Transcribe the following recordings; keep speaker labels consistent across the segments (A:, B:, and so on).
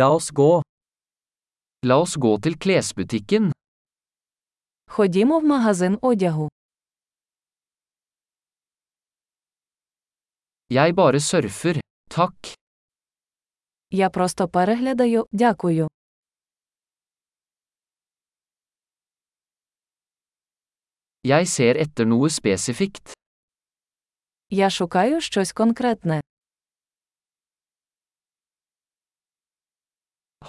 A: La oss gå. La oss gå til klesbutikken.
B: Ходімо в магазин одягу.
A: Jeg bare surfer. Takk.
B: Я просто переглядаю, дякую.
A: Jeg ser etter noe spesifikt.
B: Я шукаю щось конкретне.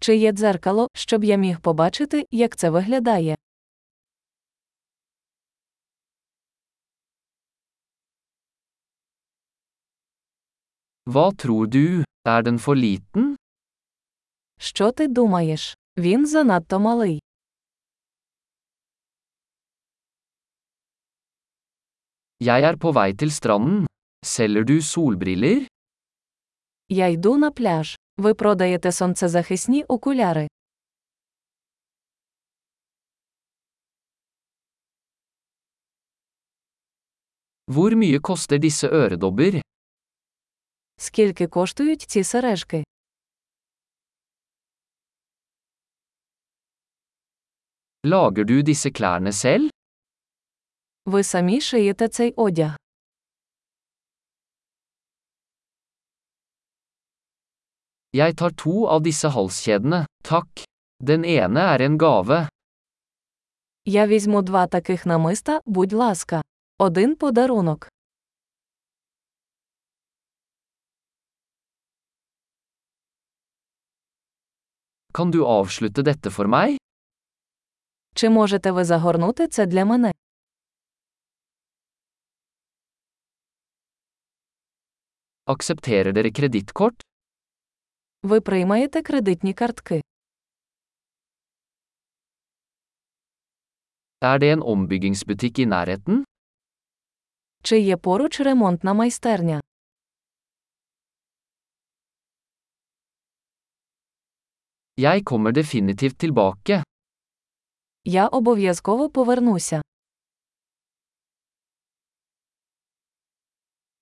B: Чи є дзеркало, щоб я міг побачити, як це виглядає?
A: Hva tror du? Er den for liten?
B: Що ти думаєш? Він занадто малий.
A: Jeg er på vei til stranden. Selger du solbriller?
B: Я йду на пляж. Ви продаєте сонцезахисні окуляри.
A: Hvor mye koster disse øredobber?
B: Скільки коштують ці сережки?
A: Lager du disse klærne selv?
B: Ви самі шиєте цей одяг.
A: Jeg tar to av disse halskjedene, takk. Den ene er en gave.
B: Я візьму два таких намиста, будь ласка. Один подарунок.
A: Kan du avslutte dette for meg?
B: Чи можете ви загорнути це для мене?
A: Aksepterer dere kredittkort?
B: Ви приймаєте кредитні картки.
A: Er det en ombyggingsbutikk i nærheten?
B: Чи є поруч ремонтна майстерня?
A: Jeg kommer definitivt tilbake.
B: Я обов'язково повернуся.